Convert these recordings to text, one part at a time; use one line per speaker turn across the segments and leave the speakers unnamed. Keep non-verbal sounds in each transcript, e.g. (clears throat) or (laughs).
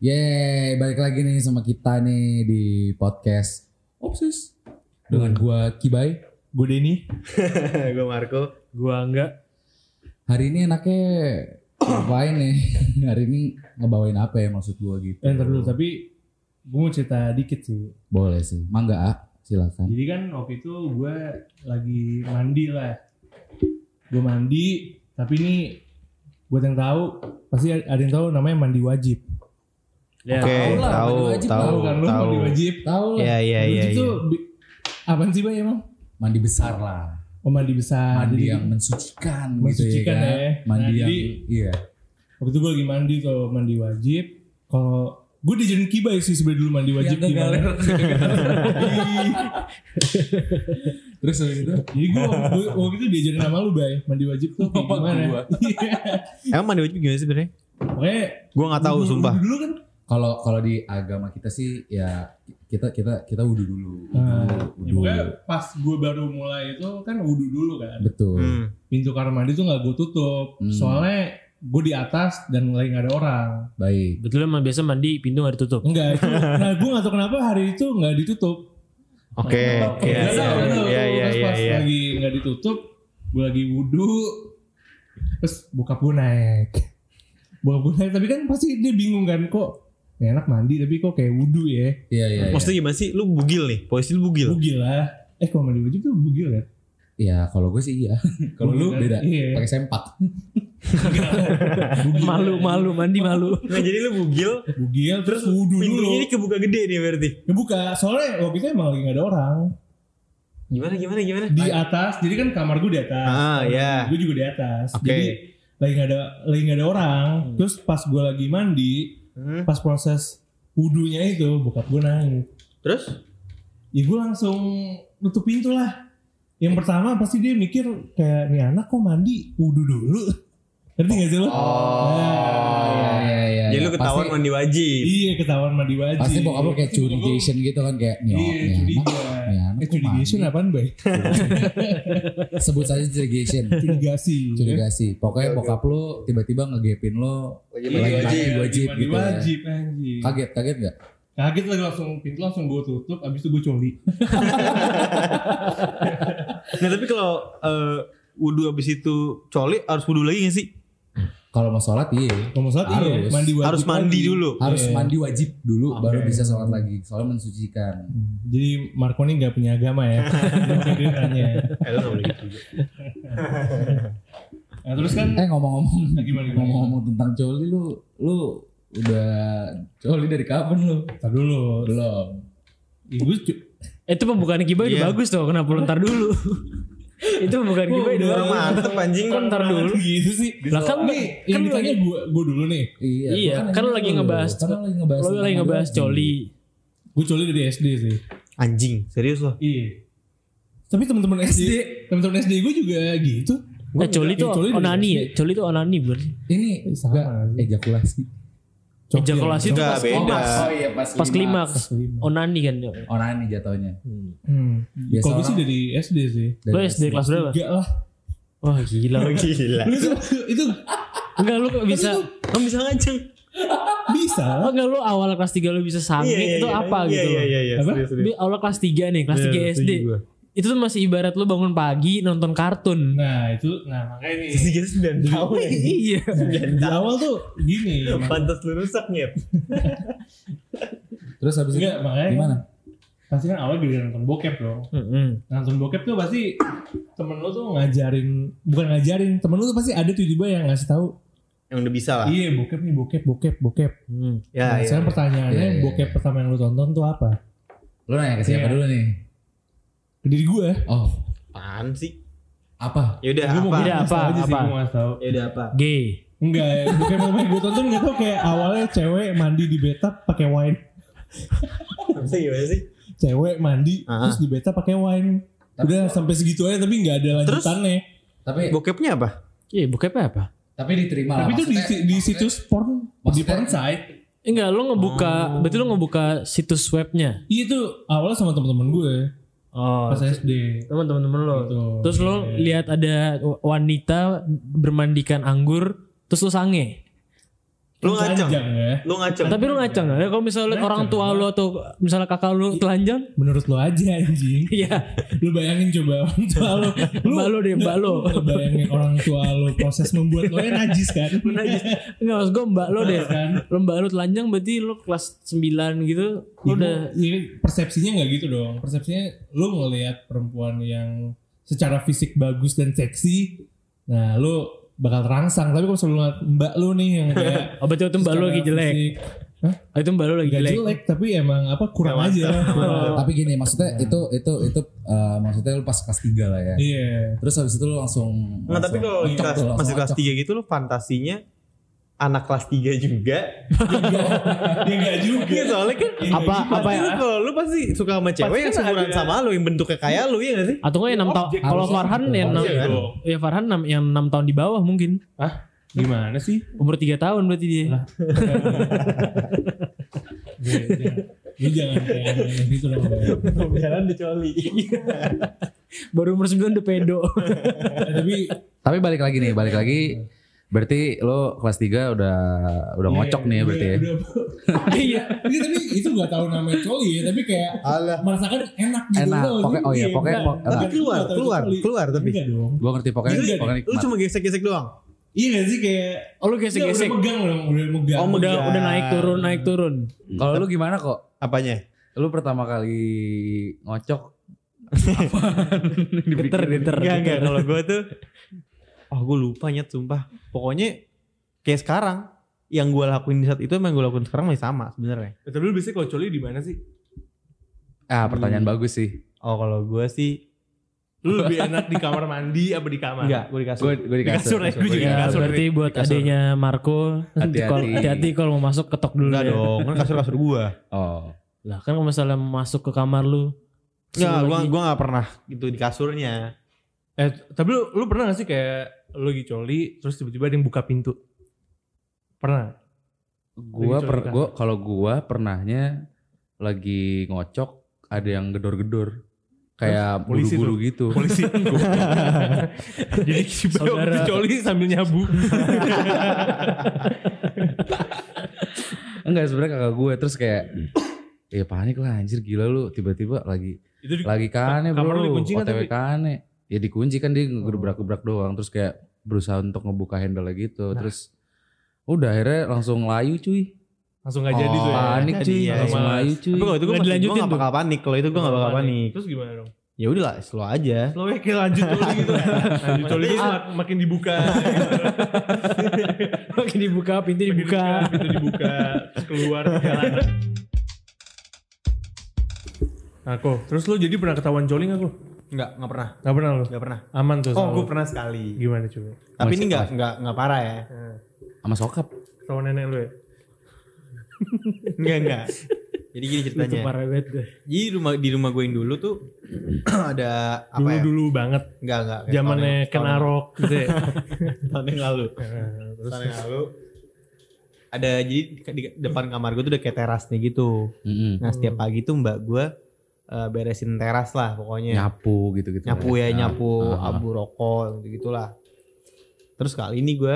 Yeay, balik lagi nih sama kita nih di podcast Obses dengan gua Kibai.
Gue Denny,
(laughs) gue Marco.
gue Angga.
Hari ini enaknya ngapain nih? (laughs) Hari ini ngebawain apa ya maksud gua gitu?
Eh, ntar dulu, tapi gue mau cerita dikit sih.
Boleh sih. Mangga, ah, silakan.
Jadi kan waktu itu gue lagi mandi lah. Gue mandi, tapi ini buat yang tahu pasti ada yang tahu namanya mandi wajib.
Ya,
Oke,
tahu lah,
tahu,
mandi wajib
tahu,
kan lu mandi wajib.
Tahu lah,
Iya, iya,
Wajib
iya.
tuh
iya.
bi- apaan sih Bang emang?
mandi besar lah.
Oh mandi besar.
Mandi
Jadi,
yang mensucikan, gitu
mensucikan
ya.
ya.
Kan? Mandi
Nah,
yang
jadi-
iya.
waktu itu gue lagi mandi tuh mandi wajib. Kalau gue diajarin kibai sih sebenarnya dulu mandi wajib
Yang
di
ya,
(laughs) mana.
ngegaler. Terus habis itu
Jadi gue waktu itu diajarin sama lu bay (laughs) mandi wajib tuh kayak
Apa
gimana?
gua?
Iya.
Emang mandi wajib gimana sih sebenarnya?
Pokoknya
Gue nggak tahu
Wudu-
sumpah.
wudu Dulu kan
kalau kalau di agama kita sih ya kita kita kita wudhu dulu.
Ah,
Wudu,
ya
wudu.
pokoknya pas gue baru mulai itu kan wudu dulu kan.
Betul.
Hmm.
Pintu kamar mandi tuh nggak gue tutup.
Hmm.
Soalnya gue di atas dan lagi nggak ada orang.
Baik.
Betul emang biasa mandi pintu gak ditutup.
Enggak
(laughs)
itu. nah gue nggak tahu kenapa hari itu nggak ditutup.
Oke.
Nggak tahu,
Iya,
nggak tahu, nggak tahu.
iya, iya,
Terus
iya,
pas
iya.
lagi nggak ditutup, gue lagi wudu. Terus buka gue naik. Buka gue naik. Tapi kan pasti dia bingung kan kok. nggak enak mandi tapi kok kayak wudu ya.
Iya iya. iya.
Maksudnya gimana sih? Lu bugil nih, posisi lu bugil.
Bugil lah. Eh kalau mandi wajib tuh bugil kan?
Ya kalau gue
(laughs)
sih iya. kalau lu
Bugil kan?
beda.
Iya.
Pakai sempak.
Bugil.
Malu malu mandi malu.
Nah jadi lu bugil,
Bugil
terus
terus wudu dulu.
pintunya ini kebuka gede nih berarti.
Kebuka. Soalnya waktu itu emang lagi gak ada orang.
Gimana, gimana, gimana?
Di atas. Jadi kan kamar gue di atas.
Ah, ya.
Gue juga di atas.
Oke.
Jadi lagi gak ada lagi gak ada orang.
Hmm.
Terus pas gue lagi mandi,
Hmm.
pas proses wudunya itu bokap gue nangis.
Terus?
Ya gue langsung tutup pintu lah.
Eh.
Yang pertama pasti dia mikir kayak nih anak kok mandi wudu dulu. Ngerti gak sih lo?
Oh,
Oh.
Iya iya iya.
Jadi
iya.
lu ketahuan
Pasti-
mandi wajib.
Iya ketahuan mandi wajib.
Pasti bokap lu kayak
Terus bokap gua-
curigation gitu kan kayak nyok
Iya,
nih
curiga.
anak, nih anak
Eh,
kok
curigation
mandi?"
apaan, Bay? (laughs)
Sebut saja curigation.
Iya. Curigasi.
Curigasi.
Iya,
Pokoknya bokap lu tiba-tiba ngegepin lu
lagi
Iya,
mandi
iya.
wajib.
mandi wajib
mandi
gitu ya.
wajib, anjing.
kaget kaget nggak?
Kaget lagi langsung pintu langsung gue tutup, abis itu gue coli.
Nah tapi kalau eh, wudu abis itu coli harus wudu lagi gak sih?
Kalau mau sholat iya.
Ngomong saat iya,
Harus.
mandi wajib.
Harus mandi
lagi.
dulu.
Harus
Iya.
mandi wajib dulu
Oke.
baru bisa sholat lagi. Soalnya mensucikan.
Hmm, Jadi Marco ini gak punya agama
(laughs)
ya. Jadi nanya.
Eh lu gak boleh gitu.
Nah, terus kan
Eh ngomong-ngomong
(laughs) gimana gimana?
ngomong-ngomong tentang coli lu lu udah coli dari kapan lu?
Ntar dulu.
Belum.
Ibu ya cu-
Eh, Itu pembukaan Kibai
Iya.
udah bagus tuh. Kenapa lu ntar
(laughs)
dulu? itu pembukaan Kibai udah
Orang
bagus.
mantep anjing.
(laughs) Kok ntar dulu?
gitu sih.
Lah kan
Nih,
kan
yang
lu
ditanya
lagi
gue gue dulu nih.
Iya,
Iya,
gua
kan lu
nanya
lagi
lu.
ngebahas-
Kan lu lagi ngebahas
lu
tentang
lagi
mandi
ngebahas
wajib.
coli.
Gue coli dari SD sih.
Anjing, serius loh.
Iya. Tapi teman-teman SD, teman-teman SD gue juga gitu.
Nah, coli
juga-
itu
eh, dari
onani ya.
SD.
Coli itu onani berarti.
Ini
Eh, sama
enggak
sih.
ejakulasi.
Coli.
Ejakulasi itu
Enggak,
pas
beda.
klimaks.
Oh iya pas
Pas klimaks.
Kelima.
Onani kan.
Orang ini jatuhnya.
Hmm.
Biasa
Kalau gue sih
orang-
dari SD sih.
Lu
Dari
SD kelas berapa?
Enggak lah. (laughs)
Wah
(laughs)
gila.
Gila.
Lu itu, itu
Enggak lu kok bisa.
Kamu bisa ngajeng.
bisa.
Oh, enggak lu awal kelas 3 lu bisa sange itu apa gitu.
Iya iya iya.
Apa?
serius, serius. Iya,
Tapi awal kelas 3 nih, kelas 3 SD. Itu tuh masih ibarat lu bangun pagi nonton
(laughs)
kartun.
Nah itu, nah makanya nih.
Sisi kita sembilan tahun.
(laughs) iya.
Di awal tuh gini.
ya.
emang.
Pantas lu rusak nyet.
Terus habis itu
Enggak makanya.
gimana?
Pasti kan awal giliran nonton bokep dong. Nah,
Mm-mm.
Nonton bokep tuh pasti temen lu tuh ngajarin, bukan ngajarin, temen lu tuh pasti ada tiba-tiba yang ngasih tahu,
Yang udah bisa lah.
iya bokep nih bokep, bokep, bokep.
Mm.
Nah,
Ya,
sekarang pertanyaannya,
Iya, iya,
bokep
iya.
pertama yang lu tonton tuh apa?
Lu nanya ke siapa
Iya.
dulu nih?
Ke diri gue.
Oh,
Apaan sih?
apa?
Ya udah
Gue
apa?
Tidak, apa,
aja sih,
apa?
gue ngasih tahu.
Ya udah apa?
Gay.
Enggak, ya. bokep pertama yang gue tonton gak tau kayak awalnya cewek mandi di bathtub pakai wine.
Bisa gimana sih?
cewek mandi
Ah.
terus di beta pakai wine
Tapi-
udah sampai segitu aja tapi nggak ada
Terus?
lanjutannya
Tapi
Bokepnya apa?
Iya, bokepnya apa?
tapi diterima lah.
tapi itu di,
Nah, maksudnya-
di situs porn di
maksudnya-
porn site
Eh, Enggak, lo ngebuka,
Oh.
berarti lo ngebuka situs webnya.
iya itu awalnya sama temen-temen gue
Oh,
pas SD
teman-teman lo.
gitu
Terus lo
Iya.
lihat ada wanita bermandikan anggur, terus lo sange.
Lu ngaceng.
Telanjang ya.
Lu ngaceng.
Tapi lu ngaceng ya kalau misalnya
Ngaceng,
orang tua
gua.
lu atau misalnya kakak
Iya.
lu telanjang, (laughs)
Menurut lo aja anjing.
iya.
lu bayangin coba orang tua lu. lu
Mbak lu deh, mbak lu.
lu bayangin orang tua lu proses membuat lo najis kan.
Najis. Enggak maksud gue mbak lo deh.
kan.
Lo mbak lo telanjang berarti lo kelas 9 gitu.
Iya,
Lo udah
iya, persepsinya nggak gitu dong. Persepsinya lu ngelihat perempuan yang secara fisik bagus dan seksi, nah lu bakal terangsang. Tapi kalau misalnya lu ngeliat mbak lu nih yang
(laughs)
kayak
Oh berarti waktu mbak lo
secara
lagi jelek.
fisik,
Oh, itu mbak lo lagi
nggak
jelek.
jelek, tapi emang apa kurang
Nggak
(laughs)
aja.
Oh.
Tapi gini maksudnya itu itu itu eh, maksudnya lu pas kelas 3 lah ya.
Iya.
Terus habis itu lu langsung
Nah,
langsung
tapi kalau lagi
acok
kelas,
tuh, langsung
masih kelas
acok.
3 gitu lu fantasinya anak kelas 3 juga.
Ya enggak juga.
Iya soalnya kan
Apa apa
pasti
ya?
lu kalau lu pasti suka sama cewek
Pasti
yang
kan
seumuran
ada-
sama lu yang bentuknya kayak lu ya gak sih?
Atau enggak yang 6 tahun.
Objek
Kalau
harusnya
Farhan
gitu.
yang 6
Iya kan?
Ya Farhan enam- yang 6 tahun di bawah mungkin.
Gimana sih?
Umur 3 tahun berarti dia.
Lah. Jangan- jangan- Iya, Lu jangan kayak aneh-aneh gitu dong. Bang.
Jalan dicoli.
Baru umur 9 udah pedo.
Nah, tapi
Tapi balik lagi nih, balik lagi berarti lo kelas 3 udah udah ngocok nih
Iya,
berarti ya.
(laughs)
udah-
Iya.
Iya, tapi itu gak tahu namanya coli ya, tapi kayak
Alah.
merasakan enak gitu
Enak,
loh.
pokoknya- oh iya,
Iya,
pokoknya-
enggak.
pokoknya-
Tapi keluar,
Enggak tahu
keluar,
coli.
keluar tapi.
Enggak Iya dong.
Gue ngerti pokoknya
Iya,
pokoknya
Lu
nikmat.
cuma gesek-gesek doang.
Iya gak sih kayak
Oh lu gesek-gesek.
Udah megang dong, udah megang.
Oh,
Udah
Enggak.
udah naik turun naik turun.
Kalau lu gimana kok?
Apanya?
Lu pertama kali ngocok
Geter geter.
Enggak,
geter.
enggak. Kalau gue
(laughs)
tuh Oh gue lupa nyet sumpah. Pokoknya kayak sekarang yang gue lakuin di saat itu emang gue lakuin sekarang masih sama sebenarnya.
Eh, Tapi lu biasanya kalau coli di mana sih?
ah pertanyaan bagus sih.
Oh kalau gue sih
Lu lebih enak di kamar mandi apa di kamar?
enggak, gue dikasih.
Gue gue di
Di kasur
kasur.
Iya,
ya, gua juga di
Ya,
Iya.
kasur.
berarti buat
kasur.
adiknya Marco
Hati-hati.
kalau- hati-hati kalau mau masuk ketok dulu
Iya.
Enggak
ya.
dong, kan kasur-kasur gue.
Oh.
Lah kan kalau misalnya masuk ke kamar lu
Enggak,
suruh
gue
lagi-
gua gak pernah gitu di kasurnya.
Eh, tapi lu, lu pernah gak sih kayak lu lagi coli terus tiba-tiba ada yang buka pintu? Pernah?
Gua
Lagi
per
coli
gua kalau gua pernahnya lagi ngocok ada yang gedor-gedor kayak
polisi
buru-buru gitu.
polisi jadi si Bayu
Saudara.
coli sambil nyabu
Enggak sebenarnya kakak gue terus kayak (clears throat) ya panik lah anjir gila lu tiba-tiba lagi
itu di,
lagi kane
kamar lu
bro
dikunci nggak
OTW
tapi? Oh.
kane ya dikunci kan dia gebrak-gebrak doang terus kayak berusaha untuk ngebuka handle gitu
Nah.
terus udah akhirnya langsung layu cuy
langsung nggak jadi tuh ya
Oh,
Ah,
panik
jadi
cuy
ya.
langsung
Malas.
layu cuy
Tapi kalau itu gue masih
Nggak
gue
dilanjutin
gak
tuh.
bakal panik. Kalau itu gue gak bakal panik.
terus gimana dong
Ya udahlah, slow aja.
lo kayak lanjut
(laughs)
dulu gitu lanjut coli terus mak- makin dibuka
Oke dibuka pintu
makin
dibuka.
pintu dibuka terus keluar ke jalanan Nah, kok. Terus lo jadi pernah ketahuan coli gak lo?
Enggak, gak pernah.
Gak pernah lo?
Gak pernah.
Aman tuh
Oh,
sama
gue
lo?
pernah sekali.
Gimana coba?
Tapi ini
Masih
enggak enggak enggak parah
(laughs)
ya.
sama sokap
Ketahuan nenek lo ya?
Enggak,
(laughs)
enggak. Jadi gini
Itu
ceritanya.
parah banget deh.
Jadi di rumah di rumah gue yang dulu tuh (clears throat) ada apa ya?
Dulu-dulu banget.
Enggak, enggak. Kayak
Zamannya
tahun yang-
Kenarok gitu ya.
Tahun tahun yang lalu.
Nah, terus
Tahun yang lalu ada jadi di- di depan kamar gue tuh udah kayak terasnya gitu.
Mm-mm.
Nah, setiap
Hmm.
pagi tuh mbak gue eh, beresin teras lah
Iya.
pokoknya.
nyapu gitu-gitu
nyapu ya
Iya.
Nah,
nyapu
ah, ah.
abu rokok gitu gitulah terus kali ini gue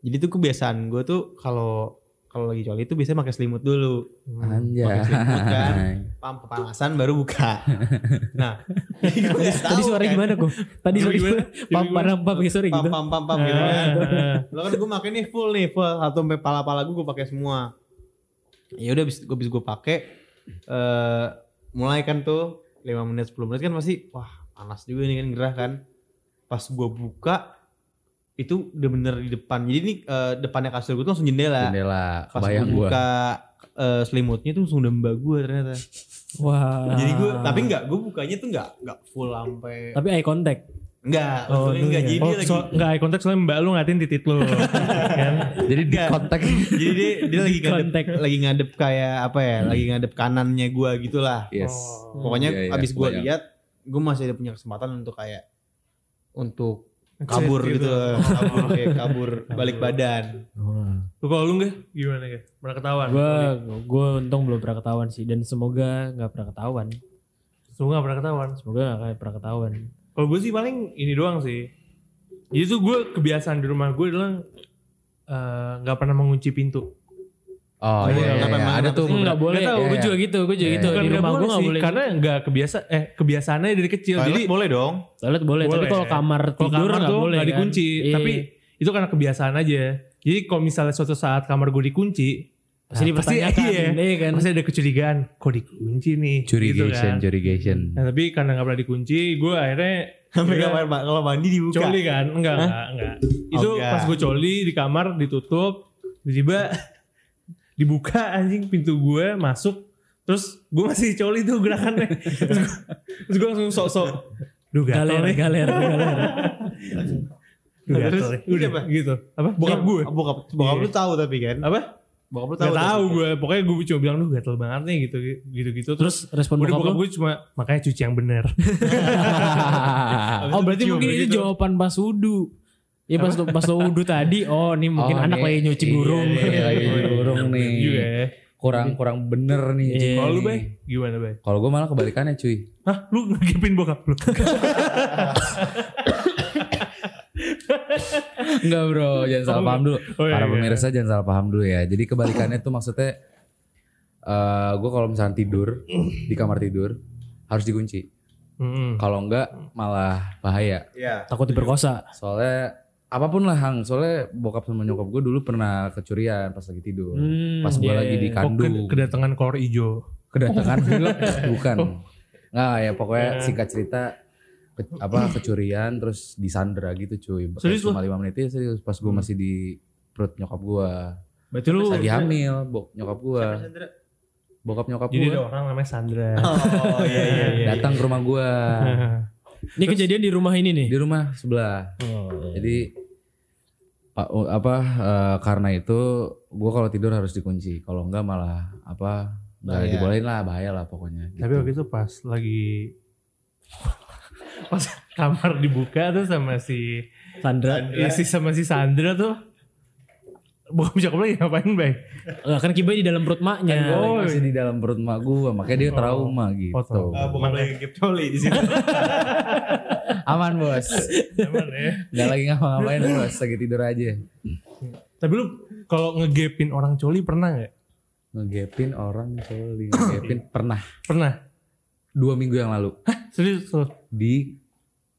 jadi tuh kebiasaan gue tuh kalau kalau lagi coli itu biasanya pakai selimut dulu
Iya.
pakai selimut
(laughs)
kan
anjay Nah,
pam kepanasan baru buka nah
Tadi suara
ya.
gimana kok? Tadi suara gimana? Pam pam
gimana?
pam pakai suara
kan, pam
gitu.
pam pam pam gitu kan lo kan gue pakai nih full nih full atau sampai pala pala gue gue pakai semua ya udah bis gue bis gue pakai eh mulai kan tuh 5 menit 10 menit kan pasti wah panas juga nih kan gerah kan pas gue buka itu udah bener di depan jadi ini eh, depannya kasur gue tuh langsung jendela,
jendela
pas gue
kebayang gua
buka eh, selimutnya tuh langsung udah mbak gue ternyata
Ah.
Wah.
jadi gue tapi nggak gue bukanya tuh nggak nggak full sampai
tapi eye contact.
nggak
Oh,
untungnya nggak
iya.
jadi
oh,
dia lagi
so, nggak eye contact soalnya mbak lu ngatin titit lu kan
jadi di
Enggak.
kontak (laughs)
jadi dia, dia
(laughs)
lagi ngadep
Kontak.
lagi ngadep kayak apa ya lagi ngadep kanannya gua gitu lah
yes
Oh.
pokoknya
Iya, iya,
abis gua
kebayang.
lihat gua masih ada punya kesempatan untuk kayak untuk
Exit
kabur gitu,
Oh.
loh. kabur kayak
(laughs)
kabur balik badan
Lu kalau lu nggak gimana ya pernah ketahuan
Gue gue untung belum pernah ketahuan sih dan semoga nggak pernah ketahuan.
Lu nggak pernah ketahuan
Semoga nggak pernah ketahuan.
kalau gue sih paling ini doang sih jadi tuh gue kebiasaan di rumah gue adalah eh, nggak pernah mengunci pintu
Oh iya, iya,
Kenapa
iya.
emang
ada
kenapa
tuh.
sih?
beberapa-
Enggak boleh.
Iya,
Gue
iya.
juga gitu, gue juga
Iya,
gitu.
iya.
Di
Bukan
rumah gue
Kan nggak boleh
nggak
sih,
boleh.
Karena nggak kebiasa eh kebiasaannya dari kecil.
Toilet
Jadi
boleh dong.
Toilet boleh, tapi
Boleh.
kalau kamar
kalau
tidur
kamar
nggak
tuh
boleh.
nggak
kan?
dikunci.
Iya.
Tapi itu karena kebiasaan aja. Jadi kalau misalnya suatu saat kamar gue dikunci,
pasti
nah,
dipertanyakan,
iya,
iya kan?
pasti ada kecurigaan. Kok dikunci nih? Gitu
Curigation,
kan.
curigation.
Nah, tapi karena nggak pernah dikunci, gue akhirnya
Sampai
Iya.
kamar ma- kalau mandi dibuka. Iya,
coli kan? Enggak, enggak, enggak. Itu
Oh, enggak.
pas gue coli di kamar ditutup, tiba-tiba (laughs) dibuka anjing pintu gue masuk terus gue masih coli tuh gerakannya terus gue, terus gue langsung sok-sok duh gatel
Galer,
ya. nih
galer, galer.
Duh,
Nah,
gatel
terus
nih. udah
siapa?
gitu apa bokap gue
Bokap, bokap
Iya.
lu tahu tapi kan.
Apa?
Bokap lu tahu.
Gak tahu
tapi.
gue pokoknya gue cuma bilang duh gatel banget nih gitu gitu gitu terus
Terus respon
udah
bokap
bokap
lu?
gue cuma makanya cuci yang bener gitu.
Oh berarti mungkin itu jawapan pas wudu. Ya pas lo, pas lo wudu tadi, oh ini (laughs) mungkin
Oh, nih.
anak lagi nyuci
Iya,
burung.
nih, lagi nyuci
(laughs)
burung nih.
juga ya
Kurang kurang bener nih.
Iya.
cuy.
kalau lu bay gimana bay
Kalau gue malah kebalikannya cuy.
(laughs)
Hah, lu ngegipin bokap lu?
Enggak bro, jangan salah
Oh,
paham dulu.
(laughs) oh iya,
Para
iya.
pemirsa jangan salah paham dulu ya. Jadi kebalikannya tuh maksudnya eh gue kalau misalnya tidur di kamar tidur harus dikunci.
Hmm.
Kalau enggak malah bahaya.
Iya.
Takut diperkosa.
Soalnya apapun lah Hang, soalnya bokap sama nyokap gue dulu pernah kecurian pas lagi tidur.
Hmm,
Pas gue
iya,
lagi di
iya.
Oh,
kandung.
ke- kedatangan kolor ijo. (laughs)
kedatangan film Oh. bukan nggak ya pokoknya singkat cerita ke- apa kecurian terus disandra gitu cuy Kayak
Serius
cuma lima menit ya serius pas gue masih di perut nyokap gue
Berarti lu
lagi hamil bok nyokap gue bokap nyokap
iya. Jadi
gue
ada orang namanya Sandra.
Oh iya iya iya.
datang ke rumah
(laughs)
gue
Nah,
Ini kejadian di rumah ini nih.
di rumah sebelah
Oh.
jadi pa- u- apa eh, karena itu gue kalau tidur harus dikunci kalau enggak malah apa nggak
Bahaya.
dibolehin lah bahaya lah pokoknya Gitu.
Tapi waktu itu pas lagi (laughs) pas kamar dibuka tuh sama si
Sandra.
ya, si sama si Sandra tuh Bokap nyokap lu lagi ngapain, Bay?
Lah kan kibai di dalam perut maknya.
Kan
Masih di dalam perut mak gue makanya dia
Oh.
trauma gitu
Oh, trauma.
Ah, bokap lagi ngegep coli di sini.
(laughs) Aman bos
Zaman ya.
Gak lagi
(laughs)
ngapa-ngapain bos Lagi tidur aja
Tapi lu kalau ngegepin orang coli pernah nggak?
Ngegepin orang
(coughs)
coli Ngegepin pernah
Pernah.
Dua minggu yang lalu
Serius tuh.
Di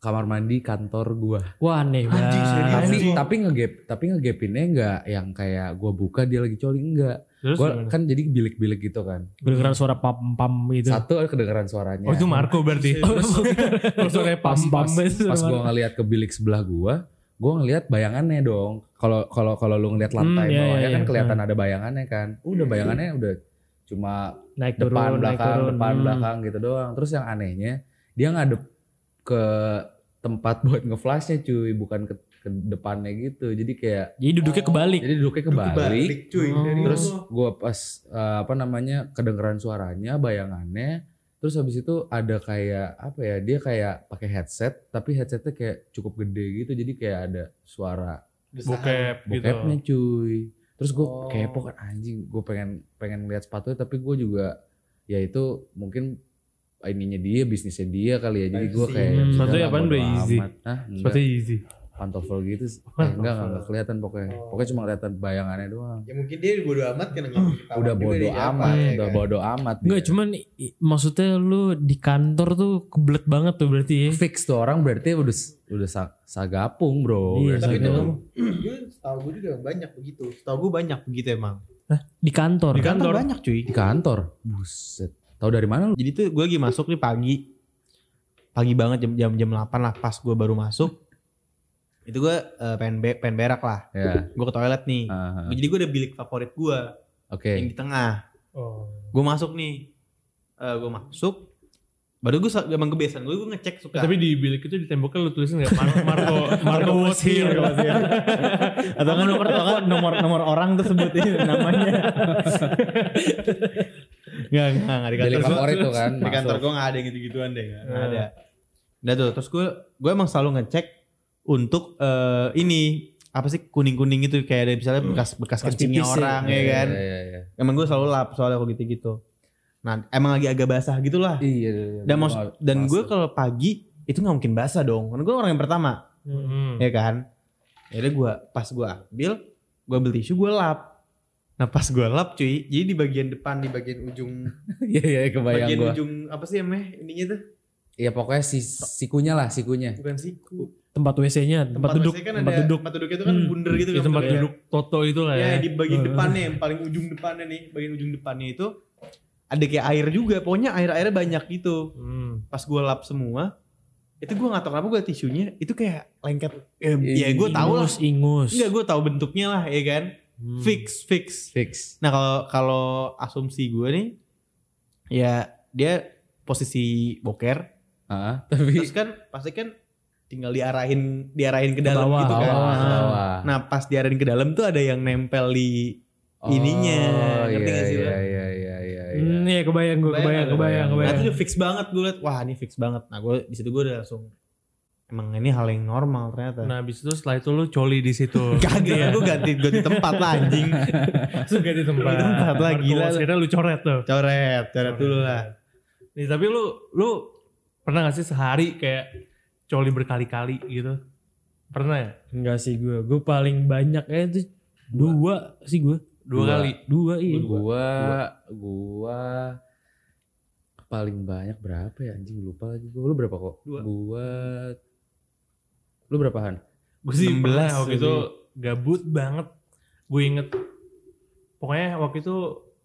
kamar mandi kantor gua
Wah aneh
Anjing, serius.
banget.
Tapi
Anjing.
tapi ngegep Tapi ngegepinnya enggak Yang kayak gua buka dia lagi coli Enggak
Terus
Gua
gimana?
kan jadi bilik-bilik gitu kan
Kedengeran suara pam-pam gitu. (laughs)
Satu ada kedengeran suaranya
Oh itu Marco berarti. Terus terus orangnya
Pas-
pam-pam.
pas-
Pas
suara-
gua ngeliat ke bilik sebelah gua Gua ngeliat bayangannya dong Kalau kalau kalau lu ngeliat lantai
Hmm, iya,
bawahnya
iya,
kan
iya.
kelihatan ada bayangannya kan Udah bayangannya udah Cuma
naik turun,
depan
naik
belakang
turun.
depan
Hmm.
belakang gitu doang terus yang anehnya dia ngadep ke tempat (laughs) buat ngeflashnya cuy bukan ke, ke depannya gitu jadi kayak
Jadi duduknya
Oh.
kebalik.
jadi duduknya ke Bali
Balik cuy.
Oh.
Dari
terus
Allah.
gue pas eh, apa namanya kedengeran suaranya bayangannya terus habis itu ada kayak apa ya dia kayak pakai headset tapi headsetnya kayak cukup gede gitu jadi kayak ada suara
Bokep gitu.
bokepnya cuy terus gue
Oh.
kepo kan anjing gue pengen pengen lihat sepatunya tapi gue juga ya itu mungkin ininya dia bisnisnya dia kali ya jadi gue
Privacy.
kayak
Hmm,
"Udah
sepatunya
lah,
apaan,
bodo
Bay? Yeezy?
amat." Hah, enggak.
Seperti easy.
pantofel gitu eh,
Pantofel.
enggak enggak, enggak kelihatan pokoknya
Oh.
pokoknya cuma kelihatan bayangannya doang
Ya mungkin dia bodo amat kan enggak ketahuan
udah
juga
bodo
dia siapa,
amat
ya
udah
kan?
bodo amat dia.
Enggak, cuman i- maksudnya lu di kantor tuh kebelet banget tuh berarti ya.
fix tuh orang berarti udah udah sa- sagapung bro Udah
Iya,
Tapi itu
sagapung.
(clears throat) gue setahu gue juga banyak begitu. Setahu gue banyak begitu emang. kan
Di kantor.
Di kantor.
banyak cuy.
di kantor buset tahu dari mana lu
Jadi tuh gue lagi masuk nih pagi. Pagi banget jam jam jam 8 lah pas gue baru masuk. Itu gue eh, pengen be- pengen berak lah.
ya
Gue ke toilet nih.
ah, ah.
Jadi gue ada bilik favorit gue
oke
yang Iya. di tengah.
Oh.
Gue masuk nih. Eh gue masuk. Baru gue sa- emang kebiasaan gue gue ngecek suka.
Tapi di bilik itu di temboknya lu tulisin nggak (laughs) Mar- Marco Marco was here.
(laughs) atau kan nomor atau kan nomor nomor orang tersebut ini namanya (laughs) nggak nggak nggak di kantor
Bilik
gua-
favorit tuh kan,
di kantor
masuk.
gue nggak ada gitu gituan deh nggak nggak
Hmm.
ada udah tuh terus gue gue emang selalu ngecek untuk eh, ini apa sih kuning kuning gitu kayak ada misalnya bekas bekas kencingnya
pipis ya.
orang ya kan
Iya, iya, iya.
emang gue selalu lap soalnya kalau gitu gitu nah emang lagi agak basah gitulah
Iya.
dan maksud- dan
(laughs)
gue kalau pagi itu nggak mungkin basah dong karena gue orang yang pertama
Hmm.
ya kan akhirnya gue pas gue ambil gue beli tisu gue lap Nah pas gue lap cuy, jadi di bagian depan, di bagian ujung,
Iya iya kebayang
bagian
gua.
ujung apa sih namanya ininya tuh?
Iya pokoknya si sikunya lah sikunya.
Bukan siku.
tempat WC-nya, tempat, duduk,
WC kan
tempat
ada,
duduk.
Tempat duduk itu kan
Hmm.
bundar gitu
Di
kan.
tempat
bentuknya.
duduk Toto itu lah ya.
Ya di bagian
(laughs) Heeh.
depannya, yang paling ujung depannya nih, bagian ujung depannya itu ada kayak air juga, pokoknya air-airnya banyak gitu.
Hmm.
Pas gue lap semua, itu gue nggak tahu kenapa gue tisunya itu kayak lengket. Eh, ya gue tahu lah.
Ingus, ingus.
Enggak gue tahu bentuknya lah ya kan.
Hmm.
Fix, fix.
Fix.
Nah kalau kalau asumsi gue nih, ya dia posisi boker.
Ah, tapi
Terus kan pasti kan tinggal diarahin diarahin ke dalam
bawah,
gitu kan.
bawah.
bawah.
Nah pas diarahin ke dalam tuh ada yang nempel di
Oh,
ininya, ngerti
iya,
nggak sih lo?
Iya iya iya iya. iya.
Hmm, iya kebayang gue, kebayang,
Kebayang,
kebayang,
Nah itu
kebayang.
udah fix banget gue liat. Wah ini fix banget. Nah gue di situ gue udah langsung emang ini hal yang normal ternyata.
Nah abis itu setelah itu lu coli di situ.
(laughs) Kagak,
Iya.
gue ganti ganti tempat lah anjing.
Langsung ganti tempat.
Ganti tempat lah,
Baru
gila.
keluar, Akhirnya lu coret tuh.
Coret, coret dulu lah.
Nih tapi lu lu pernah gak sih sehari kayak coli berkali-kali gitu? Pernah ya?
Enggak sih gue, gue paling banyak ya itu dua sih gue.
Dua,
Dua.
kali.
Dua iya.
Gua gua paling banyak berapa ya anjing lupa lagi gua. Lu berapa kok?
Dua.
Gua Lu berapahan?
Gue sih
16
pernah waktu
gitu.
itu gabut banget. Gue inget pokoknya waktu itu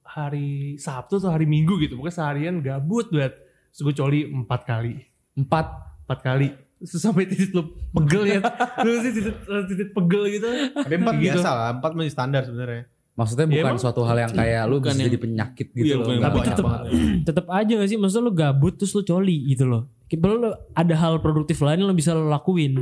hari Sabtu atau hari Minggu gitu. Pokoknya seharian gabut banget. Terus gue coli empat kali.
Empat.
Empat kali. Terus sampai titik lu
(laughs)
pegel ya. Terus titik, titik pegel gitu.
Tapi empat
Gitu.
biasa lah, empat masih standar sebenarnya.
Maksudnya
Ya,
bukan
emang-
suatu hal yang kayak lu bisa
Bukan yang-
jadi penyakit gitu
Iya,
loh.
bukan yang
Tapi
banyak
tetep-
banget.
Tetap aja gak sih, maksudnya lu gabut terus lu coli gitu loh. Kalau lu ada hal produktif lain yang lu bisa lu lakuin.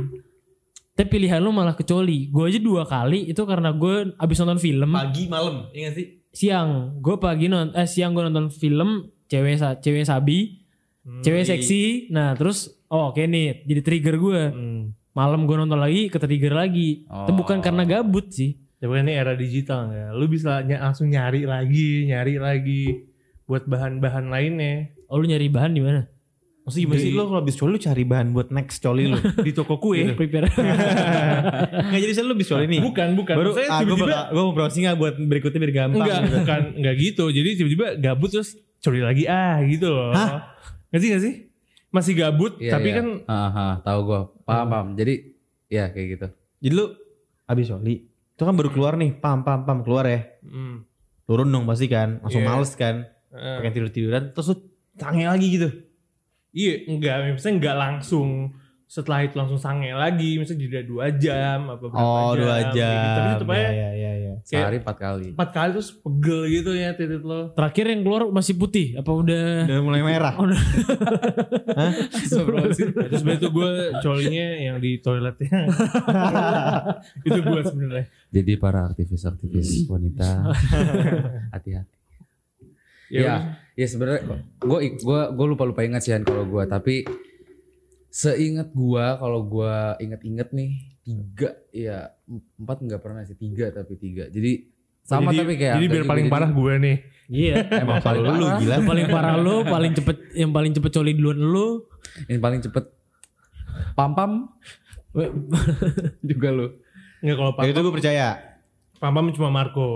Tapi pilihan lu malah ke coli. Gue aja dua kali itu karena gue abis nonton film.
Pagi malam, iya gak sih?
siang gue pagi nonton eh siang gue nonton film cewek sa- cewek sabi
Hmm.
cewek seksi nah terus oh oke nih jadi trigger gue
Hmm.
malam gue nonton lagi ke trigger lagi itu
Oh.
bukan karena gabut sih
Ya pokoknya ini era digital ya. Lu bisa ny- langsung nyari lagi, nyari lagi buat bahan-bahan lainnya
oh lu nyari bahan di mana
Maksudnya gimana sih
Di-
lo kalau habis coli lu cari bahan buat next coli (laughs) lu? Gitu.
di toko
Iya.
kue.
prepare
Gak jadi saya lu habis coli nih.
bukan, bukan.
Baru
Maksudnya
ah, gue
tiba-tiba-
bakal- gue mau browsing gak buat berikutnya biar gampang.
Enggak,
gitu.
bukan enggak gitu. Jadi tiba-tiba gabut terus curi lagi ah gitu loh.
Hah?
Nggak sih nggak sih? Masih gabut
Iya,
tapi
iya.
kan
Aha, tahu gua. Paham, paham. Jadi ya kayak gitu.
Jadi lu habis coli, itu kan baru keluar nih, pam pam pam keluar ya.
hmm,
Turun dong pasti kan, langsung
Iya.
males kan,
eh,
pengen tidur tiduran, terus lu tangi lagi gitu.
iya enggak, misalnya enggak langsung setelah itu langsung sange lagi, misalnya jeda dua jam apa berapa
Oh
jam.
dua
kayak gitu. Tapi
jam.
tetap
Ya,
aja
ya, ya, ya.
Sehari empat kali.
empat kali terus pegel gitu ya titik lo.
terakhir yang keluar masih putih apa udah
Eh. (laughs) Udah mulai merah.
Oh, udah.
Hah?
Nah, terus sebenernya itu gue colinya yang di (laughs) toiletnya itu gue sebenarnya.
Jadi para aktivis-aktivis wanita hati-hati.
Ya,
Ya. Ya sebenarnya gue gua gua lupa lupa ingat sih Han, kalau gue tapi seingat gue kalau gue inget-inget nih tiga ya empat nggak pernah sih tiga tapi tiga jadi sama
jadi,
tapi kayak
jadi biar
Anto
paling
juga,
parah
jadi-
gue nih.
(laughs) iya
Emang kalau
Parah.
lu gila.
Yang paling parah lu paling cepet yang paling cepet coli duluan lu
yang paling cepet pam pam (laughs) juga lu
Enggak kalau
Ya itu
Pam
gue percaya.
Pam cuma Marco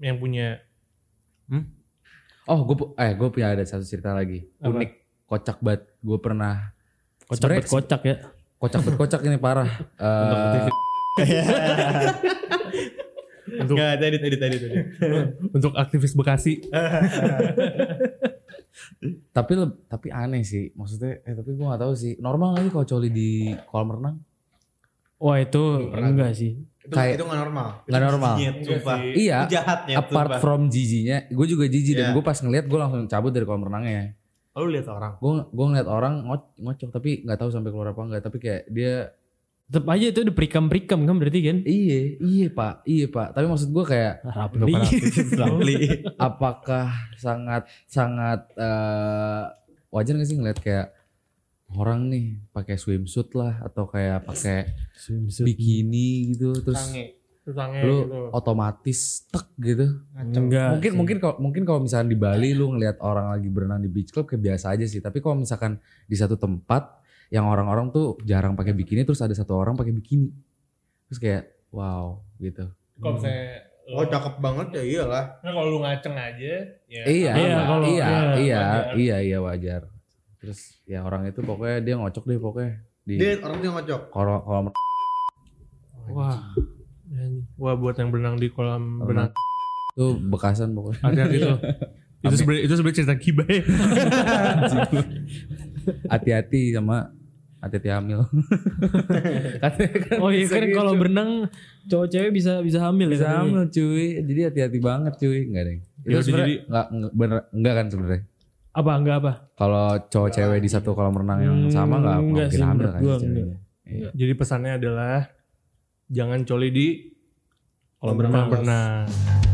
yang punya
oh gue eh gue punya ada satu cerita lagi
Apa?
unik kocak banget gue pernah
kocak
Sebenernya-
bet kocak ya
kocak banget kocak ini
(laughs)
parah Eh,
untuk
Enggak, tadi tadi tadi tadi.
untuk aktivis Bekasi.
tapi leb- tapi aneh sih maksudnya eh tapi gue nggak tahu sih normal lagi kalau coli di kolam renang
wah itu
Pernah.
enggak sih
Itu
Kayak-
itu gak normal.
Nggak normal.
Jinyet, sumpah.
Enggak sih.
Iya,
Ya, Itu jahatnya
apart from jijinya, gue juga jijik dan
Iya.
gue pas ngeliat gue langsung cabut dari kolam renangnya.
Oh, Lu lihat orang.
Gue gue ngeliat orang ngo- ngocok tapi nggak tahu sampai keluar apa enggak, tapi kayak dia
tetap aja itu udah perikam perikam kan berarti kan
iya iya pak iya pak. Tapi maksud gue kayak (laughs)
Rapli.
(laughs)
Rapli.
apakah sangat sangat eh, wajar gak sih ngeliat kayak orang nih pakai swimsuit lah atau kayak pakai bikini gitu terus
Sange.
Tutangnya gitu.
lu otomatis tek gitu.
Ngaco.
Iya
mungkin mungkin kalau mungkin kalau misalkan di Bali lu ngelihat orang lagi berenang di beach club kayak biasa aja sih tapi kalau misalkan di satu tempat yang orang-orang tuh jarang pakai bikini terus ada satu orang pakai bikini terus kayak wow gitu
Kalau misalnya
Oh
Lo-
cakep banget ya iyalah.
Nah, kalau lu ngaceng aja, ya.
Iya,
Iya,
iya, iya,
kalau- iya,
iya,
wajar.
iya, iya, wajar. Terus ya orang itu pokoknya dia ngocok deh pokoknya di
Dia orang tuh yang ngocok.
kalau kalau mer- (laughs)
Wah. Wah buat yang berenang di kolam
Kolam
berenang
itu bekasan pokoknya.
ada gitu.
(laughs)
itu
Amin.
sebenarnya itu sebenarnya cerita kibai.
Hati-hati sama hati-hati hamil. Katanya kan
Oh iya
bisa
kan
gitu.
kalau berenang cowok cewek bisa bisa hamil ya
bisa
katanya.
hamil cuy. Jadi hati-hati banget cuy, enggak deh.
Ya
Itu
udah,
sebenarnya
jadi-
enggak enggak- bener enggak kan sebenarnya.
Apa enggak apa?
Kalau cowok cewek di satu kolam renang yang sama enggak
Hmm, enggak
mungkin
sih,
hamil
menurut
kan
gua
si ceweknya. Iya.
Jadi pesannya adalah jangan coli di kolam
Kolam renang.
berenang.